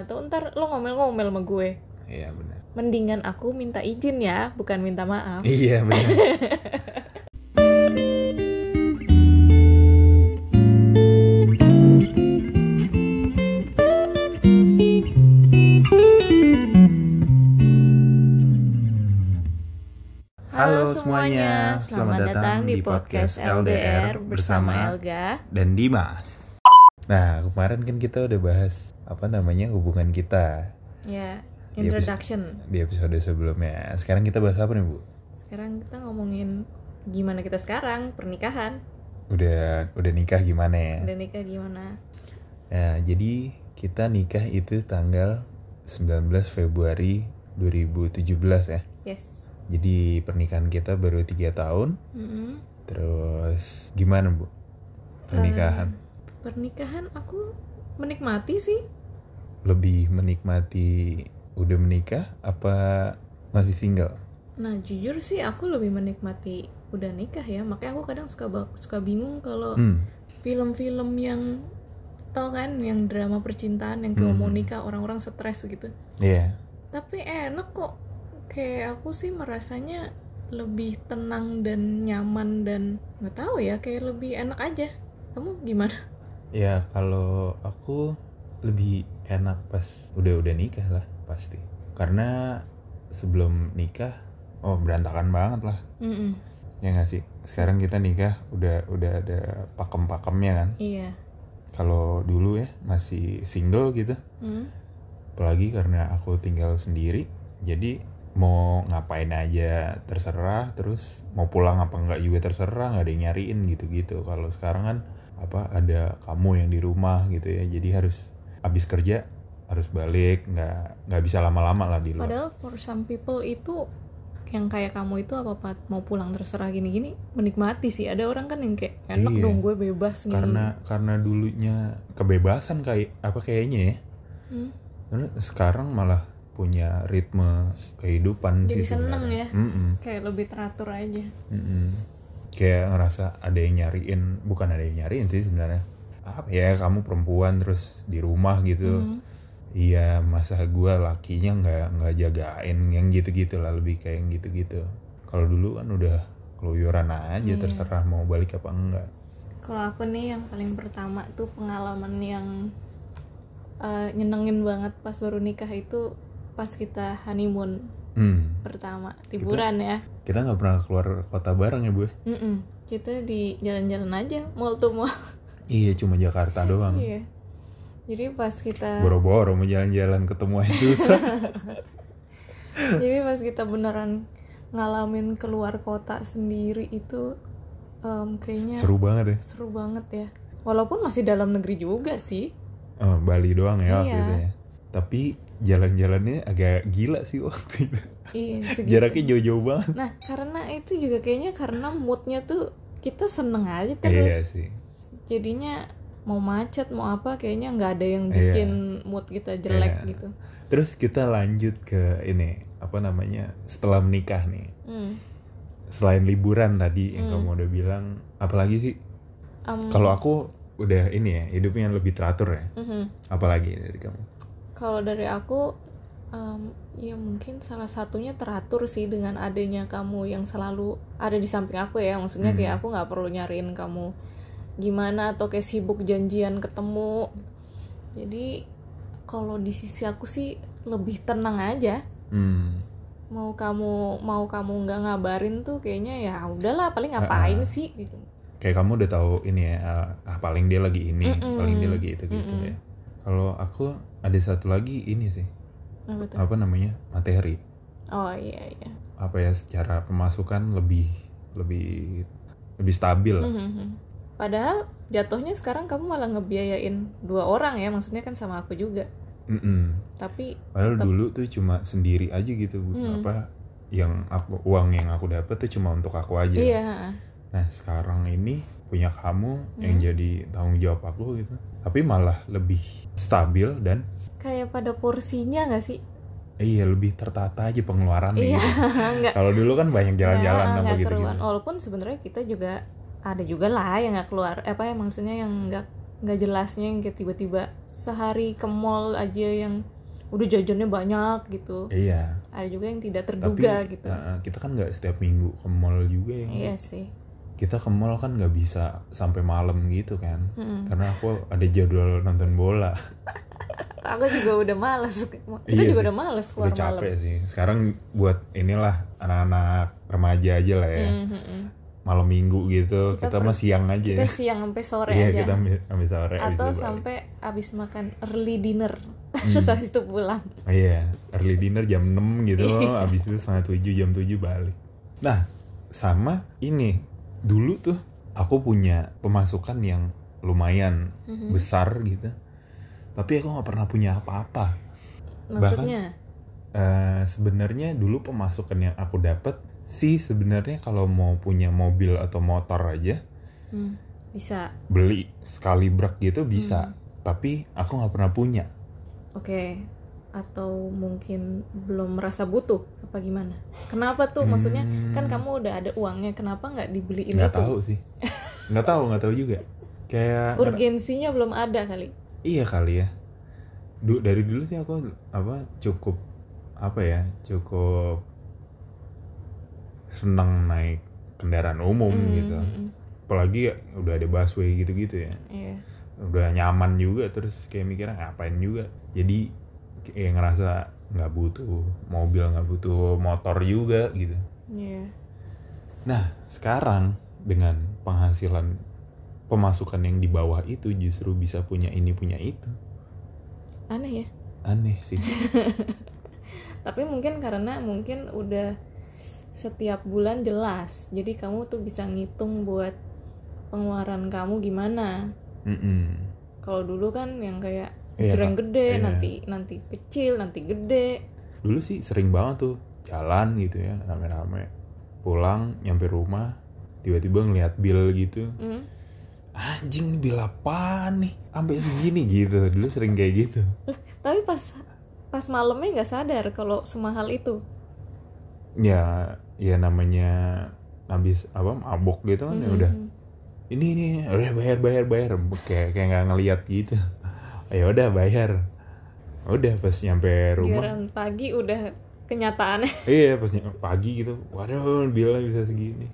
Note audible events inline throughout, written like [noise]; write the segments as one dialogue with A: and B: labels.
A: atau Nah, ntar lo ngomel-ngomel sama gue
B: Iya benar.
A: mendingan aku minta izin ya bukan minta maaf
B: Iya benar. Halo semuanya,
A: selamat, datang di podcast LDR bersama Elga
B: dan Dimas. Nah kemarin kan kita udah bahas apa namanya hubungan kita
A: ya
B: Iya, bisa.
A: introduction
B: di episode sebelumnya. Sekarang kita bahas apa nih bu?
A: sekarang kita ngomongin gimana kita sekarang pernikahan
B: Udah udah nikah gimana ya?
A: dan nikah gimana
B: Nah, jadi kita nikah itu tanggal 19 Februari 2017 ya.
A: yes
B: Jadi pernikahan kita baru tiga tahun.
A: Mm-mm.
B: Terus gimana bu? Pernikahan
A: pernikahan aku menikmati sih
B: lebih menikmati udah menikah apa masih single?
A: Nah jujur sih aku lebih menikmati udah nikah ya makanya aku kadang suka ba- suka bingung kalau
B: Hmm.
A: film-film yang tau kan yang drama percintaan yang
B: Hmm.
A: kalau mau nikah orang-orang stres gitu
B: Iya.
A: tapi enak kok kayak aku sih merasanya lebih tenang dan nyaman dan nggak tahu ya kayak lebih enak aja kamu gimana
B: Ya kalau aku lebih enak pas udah udah nikah lah pasti. Karena sebelum nikah oh berantakan banget lah.
A: Mm-mm.
B: ya nggak sih sekarang kita nikah udah udah ada pakem-pakemnya kan
A: iya
B: kalau dulu ya masih single gitu
A: Mm.
B: apalagi karena aku tinggal sendiri jadi mau ngapain aja terserah terus mau pulang apa enggak juga terserah nggak ada yang nyariin gitu-gitu kalau sekarang kan apa ada kamu yang di rumah gitu ya jadi harus abis kerja harus balik nggak nggak bisa lama-lama lah di luar
A: padahal for some people itu yang kayak kamu itu apa Pat? mau pulang terserah gini-gini menikmati sih ada orang kan yang kayak enak
B: Iya.
A: dong gue bebas gitu. nih
B: karena karena dulunya kebebasan kayak apa kayaknya ya
A: Hmm,
B: Karena sekarang malah punya ritme kehidupan
A: jadi
B: Iya sih
A: seneng ya
B: sebenarnya. Mm-mm,
A: kayak lebih teratur aja
B: mm-mm. kayak ngerasa ada yang nyariin bukan ada yang nyariin sih sebenarnya apa ya kamu perempuan terus di rumah gitu
A: Hmm,
B: iya masa gua lakinya nggak nggak jagain yang gitu gitu lah lebih kayak yang gitu gitu kalau dulu kan udah keluyuran aja
A: Iya.
B: terserah mau balik apa enggak
A: kalau aku nih yang paling pertama tuh pengalaman yang eh, nyenengin banget pas baru nikah itu pas kita honeymoon
B: hmm.
A: pertama liburan ya
B: kita nggak pernah keluar kota bareng ya bu
A: Mm-mm. kita di jalan-jalan aja mall to mall [laughs]
B: iya cuma Jakarta doang
A: Iya. jadi pas kita
B: boro-boro mau jalan-jalan ketemu aja
A: [laughs]
B: susah
A: Jadi pas kita beneran ngalamin keluar kota sendiri itu em, kayaknya seru.
B: seru banget ya
A: banget ya. Walaupun masih dalam negeri juga sih.
B: Oh, Bali doang ya waktu
A: Iya.
B: itu ya tapi jalan-jalannya agak gila sih waktu itu
A: Iya, segitu.
B: jaraknya jauh-jauh banget
A: Nah, karena itu juga kayaknya karena moodnya tuh kita seneng aja
B: iya
A: terus.
B: sih
A: Jadinya mau macet mau apa kayaknya nggak ada yang
B: Iya.
A: bikin mood kita jelek
B: Iya.
A: gitu.
B: terus kita lanjut ke ini apa namanya setelah menikah nih
A: Hmm.
B: selain liburan tadi yang
A: Hmm.
B: kamu udah bilang apalagi sih
A: Em,
B: kalau aku udah ini ya hidupnya lebih teratur ya
A: mhm.
B: apalagi dari kamu
A: Kalau dari aku, em, ya mungkin salah satunya teratur sih dengan adanya kamu yang selalu ada di samping aku ya. Maksudnya
B: Hmm.
A: kayak aku nggak perlu nyariin kamu gimana atau kayak sibuk janjian ketemu. Jadi kalau di sisi aku sih lebih tenang aja.
B: hmm.
A: Mau kamu mau kamu nggak ngabarin tuh kayaknya ya udahlah paling ngapain
B: Ah, ah.
A: sih gitu.
B: kayak kamu udah tahu ini ya ah, ah, paling dia lagi ini
A: Mm-mm.
B: paling dia lagi itu gitu
A: Mm-mm.
B: ya kalau aku ada satu lagi ini sih
A: Apa tuh?
B: apa namanya materi
A: Oh iya iya.
B: apa ya secara pemasukan lebih lebih lebih stabil lah.
A: Mhm. Padahal jatuhnya sekarang kamu malah ngebiayain dua orang ya, maksudnya kan sama aku juga.
B: Mm-mm.
A: Tapi
B: Padahal
A: Tetap.
B: dulu tuh cuma sendiri aja gitu Bu.
A: Mm.
B: apa yang aku uang yang aku dapat tuh cuma untuk aku aja.
A: iya,
B: Nah sekarang ini punya kamu yang
A: Hmm.
B: jadi tanggung jawab aku gitu. Tapi malah lebih stabil dan
A: kayak pada porsinya nggak sih? [laughs]
B: eh, iya lebih tertata aja pengeluarannya.
A: Iya,
B: gitu.
A: nggak
B: Kalau dulu kan
A: [laughs]
B: banyak jalan-jalan
A: nggak-
B: apa
A: nggak
B: gitu.
A: keruan. Walaupun sebenarnya kita juga ada juga lah yang nggak keluar, eh, apa ya maksudnya yang nggak nggak jelasnya yang kayak tiba-tiba sehari ke mall aja yang udah jajannya banyak gitu
B: iya
A: ada juga yang tidak
B: tapi
A: terduga gitu
B: uh, kita kan nggak setiap minggu ke mall juga ya
A: iya sih
B: kita ke mall kan nggak bisa sampai malam gitu kan
A: Mm-mm.
B: karena aku ada jadwal nonton bola
A: aku juga udah males kita
B: Iya
A: juga
B: sih.
A: udah males
B: udah
A: keluar malam
B: capek sih sekarang buat inilah anak-anak remaja aja lah ya
A: Mm, mm, mm.
B: malam minggu gitu
A: Kita
B: kita, mah siang
A: kita
B: aja ya.
A: siang sampai sore
B: iya
A: aja
B: kita ambil ambil sore abis
A: atau
B: itu balik. Hmm.
A: sampai abis makan early dinner terus [laughs] habis itu pulang
B: Oh iya, early dinner jam 6 gitu,
A: Iya.
B: habis itu setengah 7, jam 7 balik. Nah, sama ini, dulu tuh aku punya pemasukan yang lumayan
A: Mm-hmm.
B: besar gitu. Tapi aku nggak pernah punya apa-apa.
A: maksudnya
B: Eh, sebenarnya dulu pemasukan yang aku dapat sih sebenarnya kalau mau punya mobil atau motor aja
A: Hmm, bisa
B: beli sekali brak gitu bisa. Tapi aku nggak pernah punya.
A: oke atau mungkin belum merasa butuh apa gimana kenapa tuh maksudnya kan kamu udah ada uangnya kenapa nggak dibeliin
B: Hmm. Nggak
A: itu
B: tahu sih. Nggak tahu, nggak tahu juga. Kayak
A: urgensinya belum ada kali
B: Iya kali ya. Du- dari dulu sih aku apa cukup apa ya cukup senang naik kendaraan umum
A: Hmm,
B: gitu.
A: mm,
B: Apalagi ya, udah ada busway gitu-gitu ya.
A: iya.
B: Udah nyaman juga terus kayak mikirnya ngapain juga. Jadi kayak ngerasa nggak butuh mobil nggak butuh motor juga gitu.
A: Iya.
B: Nah, sekarang dengan penghasilan pemasukan yang di bawah itu justru bisa punya ini punya itu.
A: aneh ya
B: Aneh sih.
A: tapi mungkin karena mungkin udah setiap bulan jelas jadi kamu tuh bisa ngitung buat pengeluaran kamu gimana
B: Mm-mm.
A: kalau dulu kan yang kayak
B: Iya,
A: jreng
B: Kak.
A: gede
B: Iya.
A: nanti nanti kecil nanti gede
B: Dulu sih sering banget tuh jalan gitu ya rame-rame. Pulang nyampe rumah tiba-tiba ngeliat bil gitu.
A: Hmm.
B: Anjing bil apaan nih? Sampai segini gitu. Dulu sering kayak gitu.
A: tapi pas pas malamnya nggak sadar kalau semahal itu
B: Ya ya namanya habis apa mabok gitu kan ya udah. Ini ini udah bayar bayar bayar kayak kayak nggak ngeliat gitu. [laughs] Ya udah bayar. Udah pas nyampe rumah
A: giliran pagi udah kenyataannya [laughs]
B: Iya pas nyampe pagi gitu Waduh bilnya bisa segini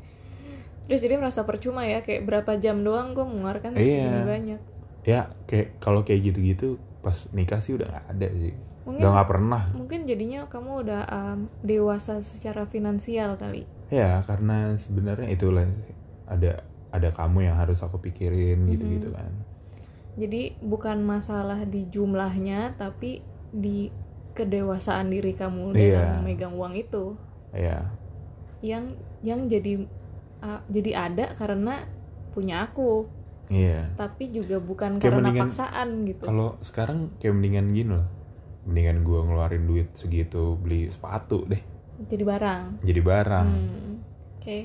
A: terus jadi merasa percuma ya kayak berapa jam doang gue mengeluarkan
B: Iya.
A: segini banyak
B: ya kayak kalau kayak gitu-gitu pas nikah sih udah nggak ada sih
A: Mungkin-
B: udah nggak pernah
A: mungkin jadinya kamu udah um, dewasa secara finansial kali
B: ya karena sebenarnya itulah ada ada kamu yang harus aku pikirin gitu-gitu kan
A: jadi bukan masalah di jumlahnya tapi di kedewasaan diri kamu
B: Iya.
A: dalam memegang uang itu
B: ya
A: yang yang jadi uh, jadi ada karena punya aku
B: iya
A: tapi juga bukan
B: Kayak
A: karena
B: mendingan-
A: paksaan gitu
B: kalau sekarang kayak mendingan gini loh mendingan gua ngeluarin duit segitu beli sepatu deh
A: jadi barang
B: jadi barang
A: Hmm, oke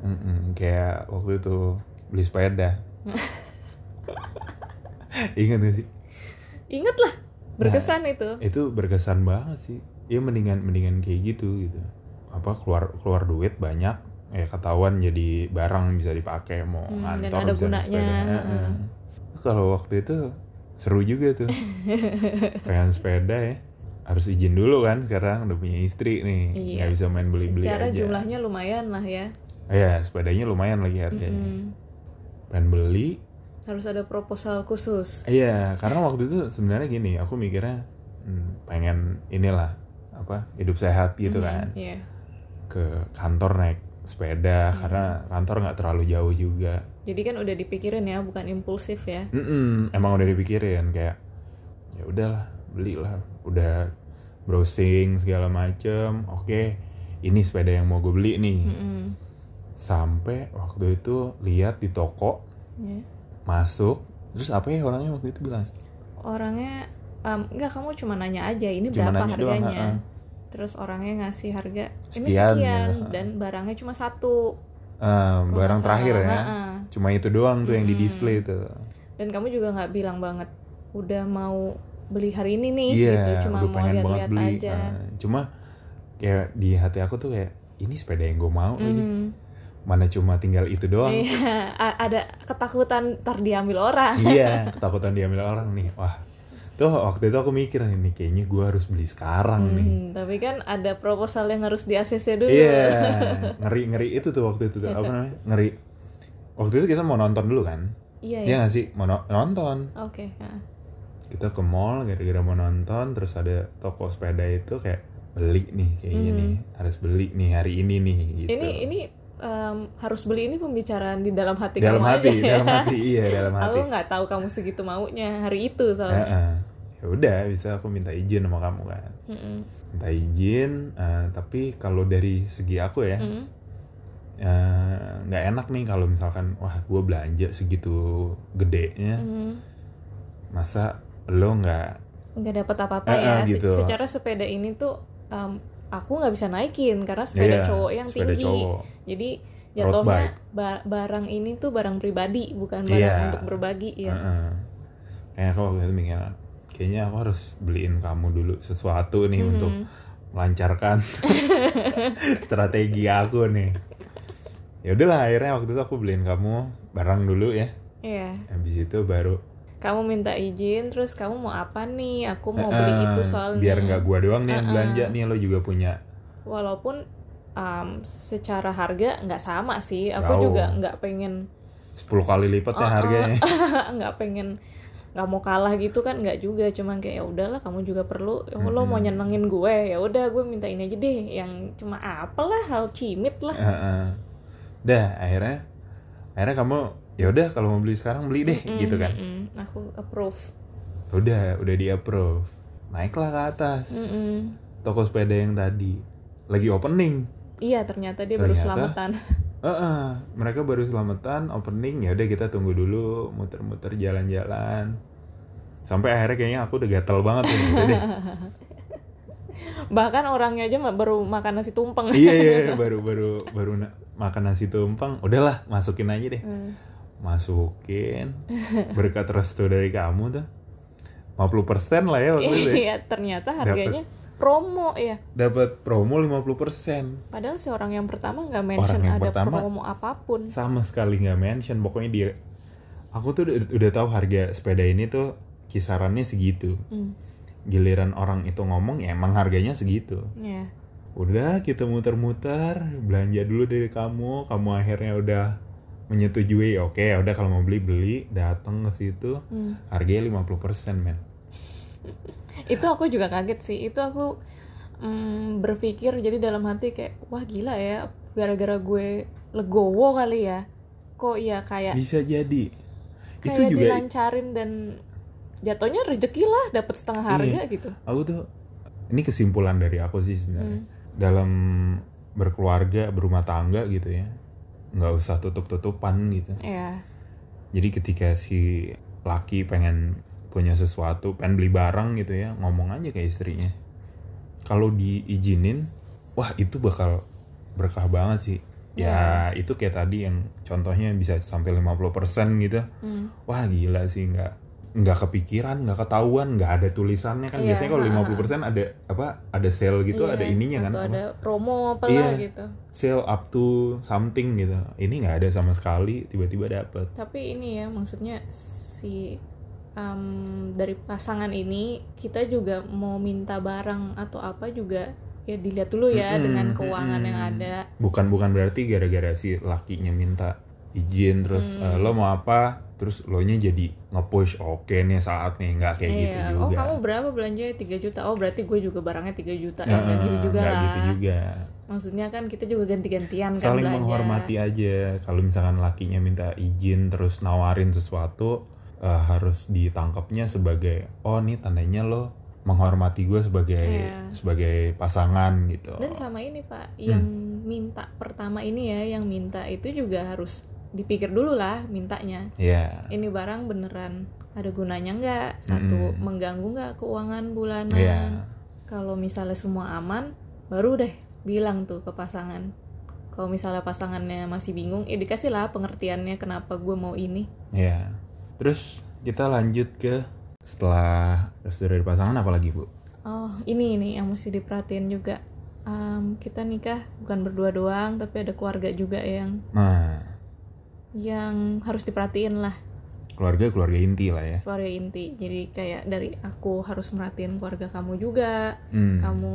B: Mm-mm, kayak waktu itu beli
A: [laughs]
B: sepeda ingat gak sih
A: inget lah berkesan
B: Nah,
A: itu
B: itu berkesan banget sih ya mendingan mendingan kayak gitu gitu apa keluar keluar duit banyak ya ketahuan jadi barang bisa dipakai mau
A: Hmm, dan
B: ngantor
A: ada
B: bisa naik
A: gunanya, Hmm.
B: sepeda.
A: heeh.
B: Heeh. kalau waktu itu seru juga tuh pengen sepeda ya harus izin dulu kan sekarang udah punya istri nih
A: Iya,
B: nggak bisa main beli beli
A: secara
B: aja
A: jumlahnya lumayan lah ya
B: Ah, ya sepedanya lumayan lagi harganya
A: Mm-mm.
B: pengen beli
A: harus ada proposal khusus
B: Iya, karena waktu itu sebenarnya gini, aku mikirnya hmm, pengen inilah apa hidup sehat gitu kan
A: Iya.
B: ke kantor naik
A: Hmm.
B: sepeda karena kantor nggak terlalu jauh juga.
A: jadi kan udah dipikirin ya bukan impulsif ya
B: Mm-mm, emang udah dipikirin kayak ya udahlah belilah, udah browsing segala macem. Oke, ini sepeda yang mau gue beli nih.
A: Mm-mm.
B: Sampai waktu itu lihat di toko
A: Iya.
B: masuk, terus apa ya orangnya waktu itu bilang?
A: orangnya em, enggak kamu cuma nanya aja ini
B: Cuma
A: berapa
B: nanya doang,
A: harganya
B: heeh.
A: terus orangnya ngasih harga ini
B: Sekian,
A: sekian,
B: ya.
A: dan barangnya cuma satu
B: Eh,
A: Kalau nggak
B: barang terakhir
A: salah,
B: ya.
A: heeh. Hmm.
B: Cuma itu doang tuh yang di display tuh.
A: dan kamu juga nggak bilang banget udah mau beli hari ini nih
B: Iya,
A: gitu cuma
B: udah
A: mau
B: pengen banget
A: lihat-lihat
B: beli. Ah, ya
A: aja
B: Nah, cuma kayak di hati aku tuh kayak ini sepeda yang gue mau lagi.
A: Mm.
B: mana cuma tinggal itu doang
A: Iya, a- ada ketakutan ntar diambil orang.
B: [laughs] iya ketakutan diambil orang nih wah tuh waktu itu aku mikir nih "Nih, kayaknya gue harus beli sekarang nih
A: Hmm, tapi kan ada proposal yang harus di ACC dulu.
B: Iya, ngeri ngeri itu tuh waktu itu tuh apa namanya ngeri. Waktu itu kita mau nonton dulu kan?
A: Iya,
B: Iya
A: iya.
B: nggak sih mau no- nonton.
A: Oke, ah.
B: Kita ke mall gara-gara mau nonton, terus ada toko sepeda itu kayak beli nih kayaknya nih harus beli nih hari ini nih gitu.
A: Ini ini em, harus beli ini pembicaraan di dalam hati
B: dalam
A: kamu
B: hati,
A: aja. ya.
B: dalam
A: [laughs]
B: hati, iya dalam hati.
A: Aku nggak tahu kamu segitu maunya hari itu soalnya.
B: Heeh. Ya udah, bisa aku minta izin sama kamu kan.
A: Mm-mm.
B: Minta izin, eh, tapi kalau dari segi aku ya,
A: Mm-mm.
B: eh, nggak enak nih kalau misalkan wah gue belanja segitu gedenya
A: Mm.
B: masa lo nggak
A: nggak dapat apa-apa
B: Eh,
A: ya.
B: eh,
A: Se-
B: gitu.
A: Secara sepeda ini tuh em, aku nggak bisa naikin karena sepeda
B: Iya,
A: cowok yang
B: sepeda
A: tinggi.
B: cowok.
A: Jadi
B: Road
A: jatuhnya ba- barang ini tuh barang pribadi bukan barang
B: Iya.
A: untuk berbagi ya.
B: Heeh. Kayaknya aku waktu itu mikir kayaknya aku harus beliin kamu dulu sesuatu nih
A: Mm-hmm.
B: untuk
A: [laughs]
B: melancarkan [laughs] strategi aku nih ya udahlah akhirnya waktu itu aku beliin kamu barang dulu ya
A: Iya.
B: habis itu baru
A: Kamu minta izin terus kamu mau apa nih? Aku mau beli
B: "Eh,
A: itu soalnya.
B: biar nggak gua doang nih yang belanja nih lo juga punya
A: Walaupun em, secara harga nggak sama sih. Aku
B: Jauh.
A: juga nggak pengen [laughs]
B: 10 kali
A: Oh,
B: lipatnya harganya
A: nggak pengen nggak mau kalah gitu kan nggak juga cuman kayak ya udahlah kamu juga perlu oh, lo mau nyenengin gue ya udah gue minta ini aja deh yang cuma apalah hal cimit lah
B: Heeh. Dah akhirnya akhirnya kamu ya udah kalau mau beli sekarang beli deh gitu kan.
A: Mm-mm, aku approve
B: Udah udah di approve. Naiklah ke atas.
A: Mm-mm.
B: Toko sepeda yang tadi lagi opening.
A: iya ternyata dia baru
B: Ternyata.
A: selamatan [laughs]
B: Heeh, mereka baru selamatan opening ya udah kita tunggu dulu muter-muter jalan-jalan. Sampai akhirnya kayaknya aku udah gatel banget tuh. Udah deh.
A: bahkan orangnya aja ma- baru makan nasi tumpeng
B: iya
A: [laughs]
B: iya iya, baru baru baru na- makan nasi tumpeng. Udahlah, masukin aja deh.
A: Hmm.
B: masukin berkat restu dari kamu tuh 50% lah ya waktu
A: [laughs]
B: itu ya.
A: iya ternyata harganya promo ya
B: dapat promo 50%
A: padahal si orang yang pertama nggak mention
B: yang
A: ada
B: pertama-
A: promo apapun
B: sama sekali nggak mention pokoknya dia aku tuh udah, udah tahu harga sepeda ini tuh kisarannya segitu
A: Hmm,
B: giliran orang itu ngomong ya emang harganya segitu
A: iya.
B: udah kita muter-muter belanja dulu dari kamu kamu akhirnya udah menyetujui oke ya udah kalau mau beli beli datang ke situ
A: Hmm.
B: harganya 50% men
A: itu aku juga kaget sih itu aku mm, berpikir jadi dalam hati kayak wah gila ya gara-gara gue legowo kali ya kok ya kayak
B: bisa jadi Iya, itu
A: kayak
B: juga
A: dilancarin dan jatuhnya rezeki lah dapat setengah
B: Iya.
A: harga gitu
B: aku tuh ini kesimpulan dari aku sih sebenarnya dalam berkeluarga berumah tangga gitu ya nggak usah tutup tutupan gitu
A: ya
B: jadi ketika si laki pengen punya sesuatu pengen beli barang gitu ya ngomong aja ke istrinya kalau diizinin wah itu bakal berkah banget sih ya
A: Iya.
B: itu kayak tadi yang contohnya bisa sampai 50% gitu
A: Hmm.
B: wah gila sih nggak nggak kepikiran nggak ketahuan nggak ada tulisannya kan
A: Iya,
B: biasanya kalau 50% ada apa ada sale gitu
A: Iya,
B: ada ininya kan
A: atau
B: apa,
A: ada promo apa
B: Iya.
A: lah gitu
B: sale up to something gitu ini nggak ada sama sekali tiba-tiba dapet
A: tapi ini ya maksudnya si em, dari pasangan ini kita juga mau minta barang atau apa juga ya dilihat dulu ya
B: Mm-mm,
A: dengan keuangan yang
B: mm-mm.
A: ada
B: bukan bukan berarti gara-gara si lakinya minta izin terus
A: Hmm.
B: "Eh, lo mau apa terus lo nya jadi nge-push oke nih saatnya nggak kayak gitu
A: Iya, oh
B: juga
A: kamu berapa belanjanya 3 juta. Oh, berarti gue juga barangnya 3 juta.
B: Eh,
A: Ya nggak gitu juga
B: nggak
A: lah.
B: gitu juga
A: Maksudnya kan kita juga ganti-gantian kan
B: saling
A: belanja.
B: menghormati aja kalau misalkan lakinya minta izin terus nawarin sesuatu eh, harus ditangkapnya sebagai oh nih tandanya lo menghormati gue sebagai
A: Iya.
B: sebagai pasangan gitu
A: Dan sama ini, Pak,
B: Hmm.
A: yang minta pertama ini ya, yang minta itu juga harus dipikir dulu lah mintanya.
B: ya
A: Ini barang beneran ada gunanya nggak? Satu, mengganggu nggak keuangan bulanan?
B: Hmm. Iya.
A: Kalau misalnya semua aman, baru deh bilang tuh ke pasangan. Kalau misalnya pasangannya masih bingung, ya dikasih lah pengertiannya kenapa gue mau ini.
B: ya terus kita lanjut ke setelah restu dari pasangan apalagi bu
A: Oh, ini nih yang mesti diperhatiin juga. um, kita nikah bukan berdua doang tapi ada keluarga juga yang
B: Nah,
A: yang harus diperhatiin lah
B: keluarga keluarga inti lah ya.
A: keluarga inti jadi kayak dari aku harus merhatiin keluarga kamu juga
B: Hmm.
A: kamu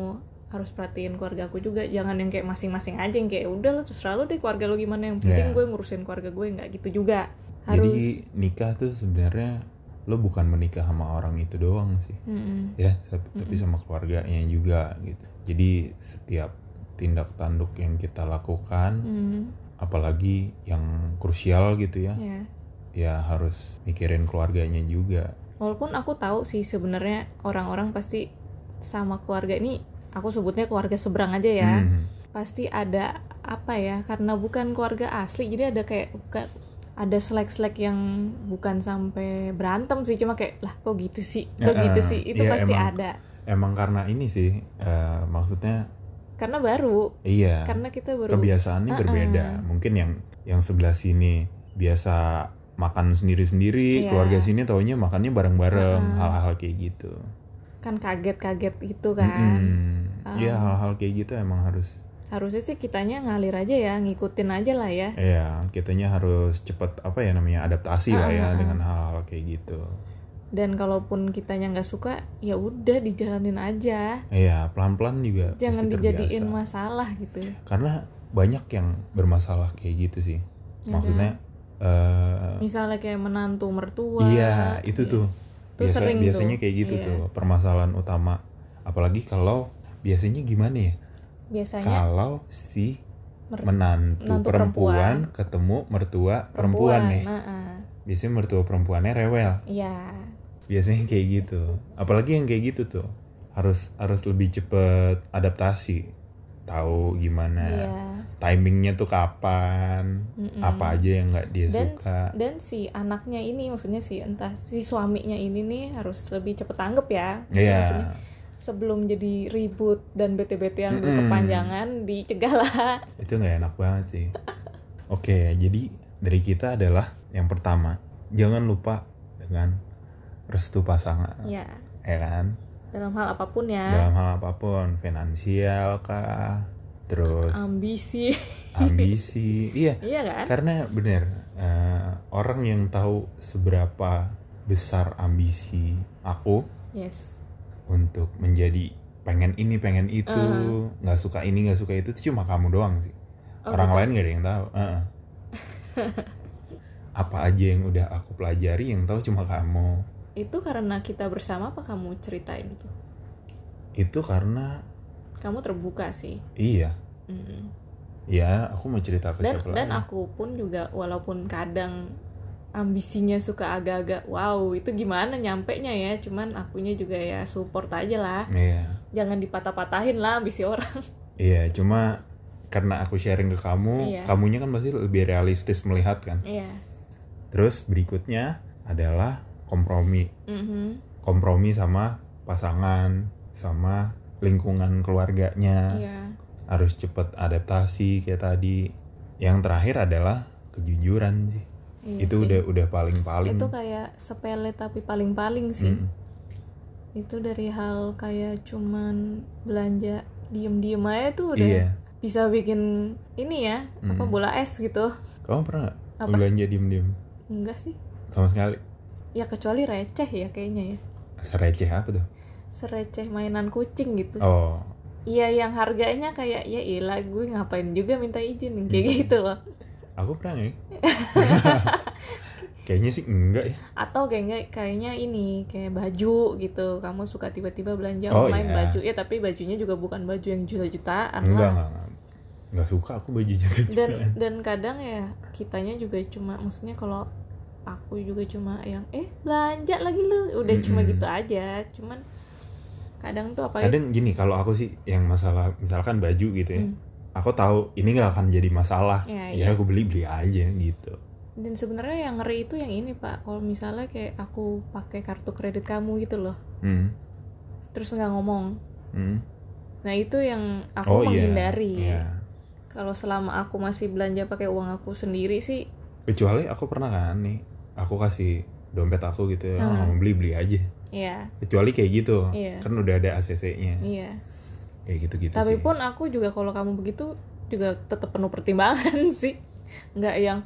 A: harus perhatiin keluarga aku juga jangan yang kayak masing-masing aja yang kayak udah lo terserah lo deh keluarga lo gimana yang penting
B: Iya.
A: gue ngurusin keluarga gue nggak gitu juga harus
B: Jadi nikah tuh sebenarnya lo bukan menikah sama orang itu doang sih.
A: Mm-mm.
B: ya sep- tapi sama keluarganya juga gitu jadi setiap tindak tanduk yang kita lakukan
A: Mm,
B: apalagi yang krusial gitu ya
A: ya.
B: ya harus mikirin keluarganya juga
A: walaupun aku tahu sih sebenarnya orang-orang pasti sama keluarga ini aku sebutnya keluarga seberang aja ya
B: Hmm,
A: pasti ada apa ya karena bukan keluarga asli jadi ada kayak buka- ada selek-selek yang bukan sampai berantem sih cuma kayak lah kok gitu sih kok
B: Ya,
A: gitu
B: eh,
A: sih itu
B: iya,
A: pasti
B: emang.
A: ada
B: emang karena ini sih eh, maksudnya
A: karena baru
B: iya
A: karena kita baru
B: kebiasaannya
A: Ah, ah.
B: berbeda mungkin yang yang sebelah sini biasa makan sendiri-sendiri
A: Iya.
B: keluarga sini taunya makannya bareng-bareng hal-hal kayak gitu
A: kan kaget-kaget gitu kan
B: Mm-mm. ya hal-hal kayak gitu emang harus
A: harusnya sih kitanya ngalir aja ya ngikutin aja lah ya
B: Iya, kitanya harus cepet apa ya namanya adaptasi lah ya dengan hal-hal kayak gitu.
A: dan kalaupun kitanya nggak suka ya udah dijalanin aja
B: Iya, pelan-pelan juga pasti
A: jangan
B: terbiasa. Iya.
A: dijadiin masalah gitu
B: Karena banyak yang bermasalah kayak gitu sih. Maksudnya eh
A: misalnya kayak menantu mertua
B: iya, itu tuh.
A: Tuh sering tuh.
B: biasanya kayak gitu
A: Iya.
B: tuh permasalahan utama. Apalagi kalau biasanya gimana ya?
A: biasanya
B: Kalau si
A: Mer-
B: menantu
A: menantu
B: perempuan, ketemu mertua perempuan, nih.
A: nah, ah.
B: Biasanya mertua perempuannya rewel.
A: Iya.
B: biasanya [laughs] kayak gitu apalagi yang kayak gitu tuh harus harus lebih cepet adaptasi tahu
A: iya
B: gimana timingnya tuh kapan
A: Mm-mm.
B: apa aja yang nggak dia
A: dan
B: suka
A: dan si anaknya ini maksudnya si entah si suaminya ini nih harus lebih cepet tanggep ya
B: Iya.
A: Maksudnya sebelum jadi ribut dan bete-betean
B: Mm-mm. Nah.
A: berkepanjangan dicegah lah
B: itu nggak enak banget sih oke jadi dari kita adalah yang pertama jangan lupa dengan restu pasangan
A: ya
B: ya kan
A: dalam hal apapun ya
B: dalam hal apapun finansial kah terus
A: [laughs] ambisi
B: ambisi iya
A: iya kan
B: Karena bener eh, orang yang tahu seberapa besar ambisi aku
A: yes
B: untuk menjadi pengen ini pengen itu nggak suka ini nggak suka itu itu cuma kamu doang sih.
A: Oh,
B: orang lain gak ada yang tahu.
A: [laughs]
B: Heeh. apa aja yang udah aku pelajari yang tahu cuma kamu.
A: itu karena kita bersama apa kamu ceritain itu
B: Itu karena
A: kamu terbuka sih
B: iya
A: Mm-mm.
B: ya aku mau cerita ke
A: dan
B: siapa
A: dan
B: lagi.
A: aku pun juga walaupun kadang ambisinya suka agak-agak wow itu gimana nyampe nya ya cuman akunya juga ya support aja lah
B: Iya
A: jangan dipatah-patahin lah ambisi
B: [laughs]
A: orang
B: iya cuma karena aku sharing ke kamu,
A: Iya.
B: kamunya kan pasti lebih realistis melihat kan.
A: iya
B: Terus berikutnya adalah kompromi.
A: Mhm.
B: Kompromi sama pasangan, sama lingkungan keluarganya.
A: iya
B: Harus cepet adaptasi kayak tadi. Yang terakhir adalah kejujuran sih.
A: Iya
B: itu
A: sih.
B: udah udah paling-paling.
A: itu kayak sepele tapi paling-paling sih
B: Mm.
A: itu dari hal kayak cuman belanja diem-diem aja tuh udah
B: Iya. Hmm.
A: bisa bikin ini ya apa bola es gitu
B: Kamu pernah nggak belanja diem-diem?
A: enggak sih
B: Sama sekali.
A: ya kecuali receh ya kayaknya ya
B: Sereceh apa tuh?
A: sereceh mainan kucing gitu
B: Oh,
A: Iya yang harganya kayak ya ilah gue ngapain juga minta izin kayak gitu loh
B: aku pernah
A: [laughs]
B: nih. Kayaknya sih enggak ya.
A: atau kayak nggak- kayaknya ini kayak baju gitu kamu suka tiba-tiba belanja
B: Oh,
A: online
B: iya.
A: baju ya tapi bajunya juga bukan baju yang juta-jutaan
B: Enggak,
A: lah
B: enggak, enggak. Enggak suka aku baju jelek. [laughs]
A: dan dan kadang ya kitanya juga cuma maksudnya kalau aku juga cuma yang eh belanja lagi lu udah cuma
B: Mm-mm.
A: gitu aja cuman kadang tuh apa ya?
B: kadang gini kalau aku sih yang masalah misalkan baju gitu ya
A: Hmm.
B: aku tahu ini nggak akan jadi masalah
A: Ya,
B: ya, aku beli beli aja gitu
A: dan sebenarnya yang ngeri itu yang ini pak kalau misalnya kayak aku pakai kartu kredit kamu gitu loh
B: hmm.
A: terus nggak ngomong
B: Hmm.
A: nah itu yang aku
B: oh iya
A: menghindari
B: Iya.
A: kalau selama aku masih belanja pakai uang aku sendiri sih
B: kecuali aku pernah kan nih aku kasih dompet aku gitu ya "Ah, mau beli beli aja
A: ya
B: kecuali kayak
A: Nah.
B: gitu
A: Iya.
B: kan udah ada ACC nya
A: iya
B: kayak gitu-gitu
A: tapi
B: sih.
A: pun aku juga kalau kamu begitu juga tetap penuh pertimbangan [laughs] sih nggak yang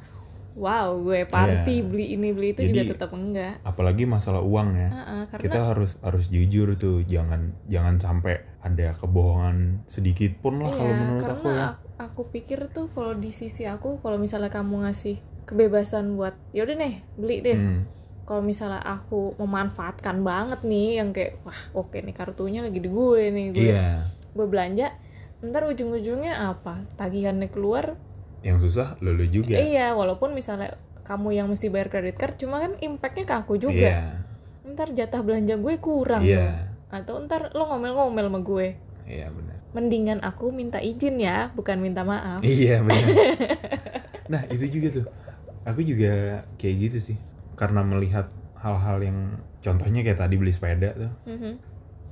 A: wow gue party
B: Iya.
A: beli ini beli itu
B: Jadi-
A: juga tetap enggak
B: apalagi masalah uang ya.
A: Heeh, karena
B: Kita harus harus jujur tuh, jangan jangan sampai ada kebohongan sedikit pun lah kalau
A: Iya,
B: menurut
A: karena
B: aku ya.
A: aku, aku pikir tuh kalau di sisi aku kalau misalnya kamu ngasih kebebasan buat yaudah nih beli deh
B: Hmm.
A: kalau misalnya aku memanfaatkan banget nih yang kayak wah oke nih kartunya lagi di gue nih gue
B: Iya,
A: gue belanja ntar ujung-ujungnya apa tagihannya keluar
B: yang susah lulu juga.
A: iya walaupun misalnya kamu yang mesti bayar kredit card cuma kan impactnya ke aku
B: Iya,
A: juga ntar jatah belanja gue kurang
B: iya,
A: atau ntar lo ngomel-ngomel sama gue
B: iya benar.
A: mendingan aku minta izin ya bukan minta maaf
B: Iya benar. [laughs] nah itu juga tuh, aku juga kayak gitu sih. Karena melihat hal-hal yang contohnya kayak tadi beli sepeda tuh,
A: Mhm.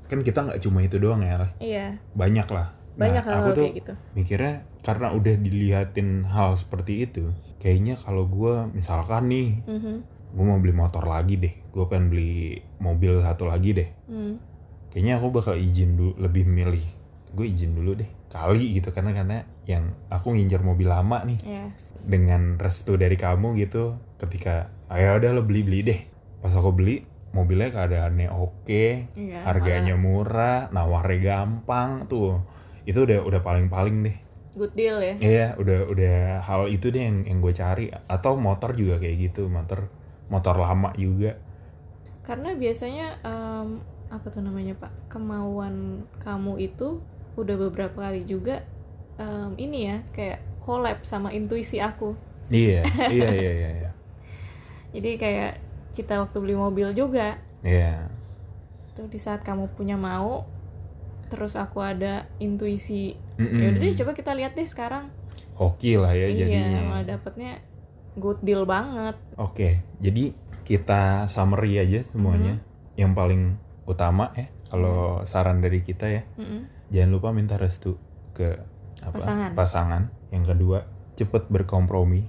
B: kan kita nggak cuma itu doang ya, lah.
A: iya
B: banyak lah. Nah,
A: banyak hal,
B: aku tuh
A: kayak gitu
B: mikirnya karena udah dilihatin hal seperti itu kayaknya kalau gua misalkan nih
A: Mhm.
B: gue mau beli motor lagi deh gue pengen beli mobil satu lagi deh
A: Hmm.
B: kayaknya aku bakal izin dulu lebih milih gue izin dulu deh kali gitu karena karena yang aku ngincer mobil lama nih
A: Iya.
B: dengan restu dari kamu gitu ketika ayo udah lo beli beli deh pas aku beli mobilnya keadaannya oke
A: Iya,
B: harganya murah nawarnya gampang tuh itu udah udah paling paling deh
A: malah good deal ya
B: Iya, udah udah hal itu deh yang yang gue cari atau motor juga kayak gitu, motor motor lama juga.
A: karena biasanya em, apa tuh namanya pak kemauan kamu itu udah beberapa kali juga em, ini ya kayak collab sama intuisi aku
B: Iya, iya, iya, iya, iya.
A: jadi kayak kita waktu beli mobil juga
B: Iya.
A: tuh di saat kamu punya mau terus aku ada intuisi
B: Mm-mm.
A: yaudah Ya deh coba kita lihat deh sekarang
B: Hoki lah Hmm. ya
A: iya
B: jadinya.
A: malah dapetnya good deal banget
B: Oke, jadi kita summary aja
A: Hmm.
B: semuanya. Yang paling utama ya, kalau saran dari kita ya,
A: Mm-mm.
B: jangan lupa minta restu ke apa?
A: Pasangan.
B: pasangan. Yang kedua, cepet berkompromi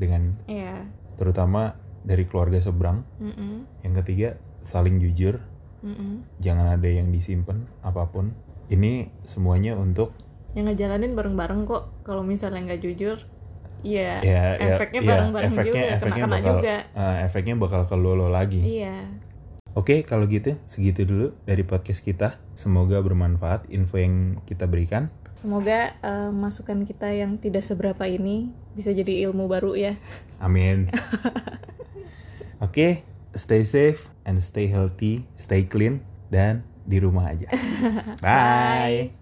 B: dengan
A: iya
B: terutama dari keluarga seberang.
A: Mm-mm.
B: Yang ketiga, saling jujur.
A: Mm-mm.
B: jangan ada yang disimpan apapun ini semuanya untuk
A: yang ngejalanin bareng-bareng kok kalau misalnya nggak jujur ya
B: ya, ya-
A: efeknya
B: ya,
A: bareng-bareng
B: efeknya-
A: juga
B: efeknya
A: kena-kena
B: bakal
A: juga
B: eh, efeknya bakal ke lo lo lagi
A: iya
B: oke kalau gitu segitu dulu dari podcast kita semoga bermanfaat info yang kita berikan
A: semoga eh, masukan kita yang tidak seberapa ini bisa jadi ilmu baru ya
B: amin oke stay safe and stay healthy stay clean dan di rumah aja bye.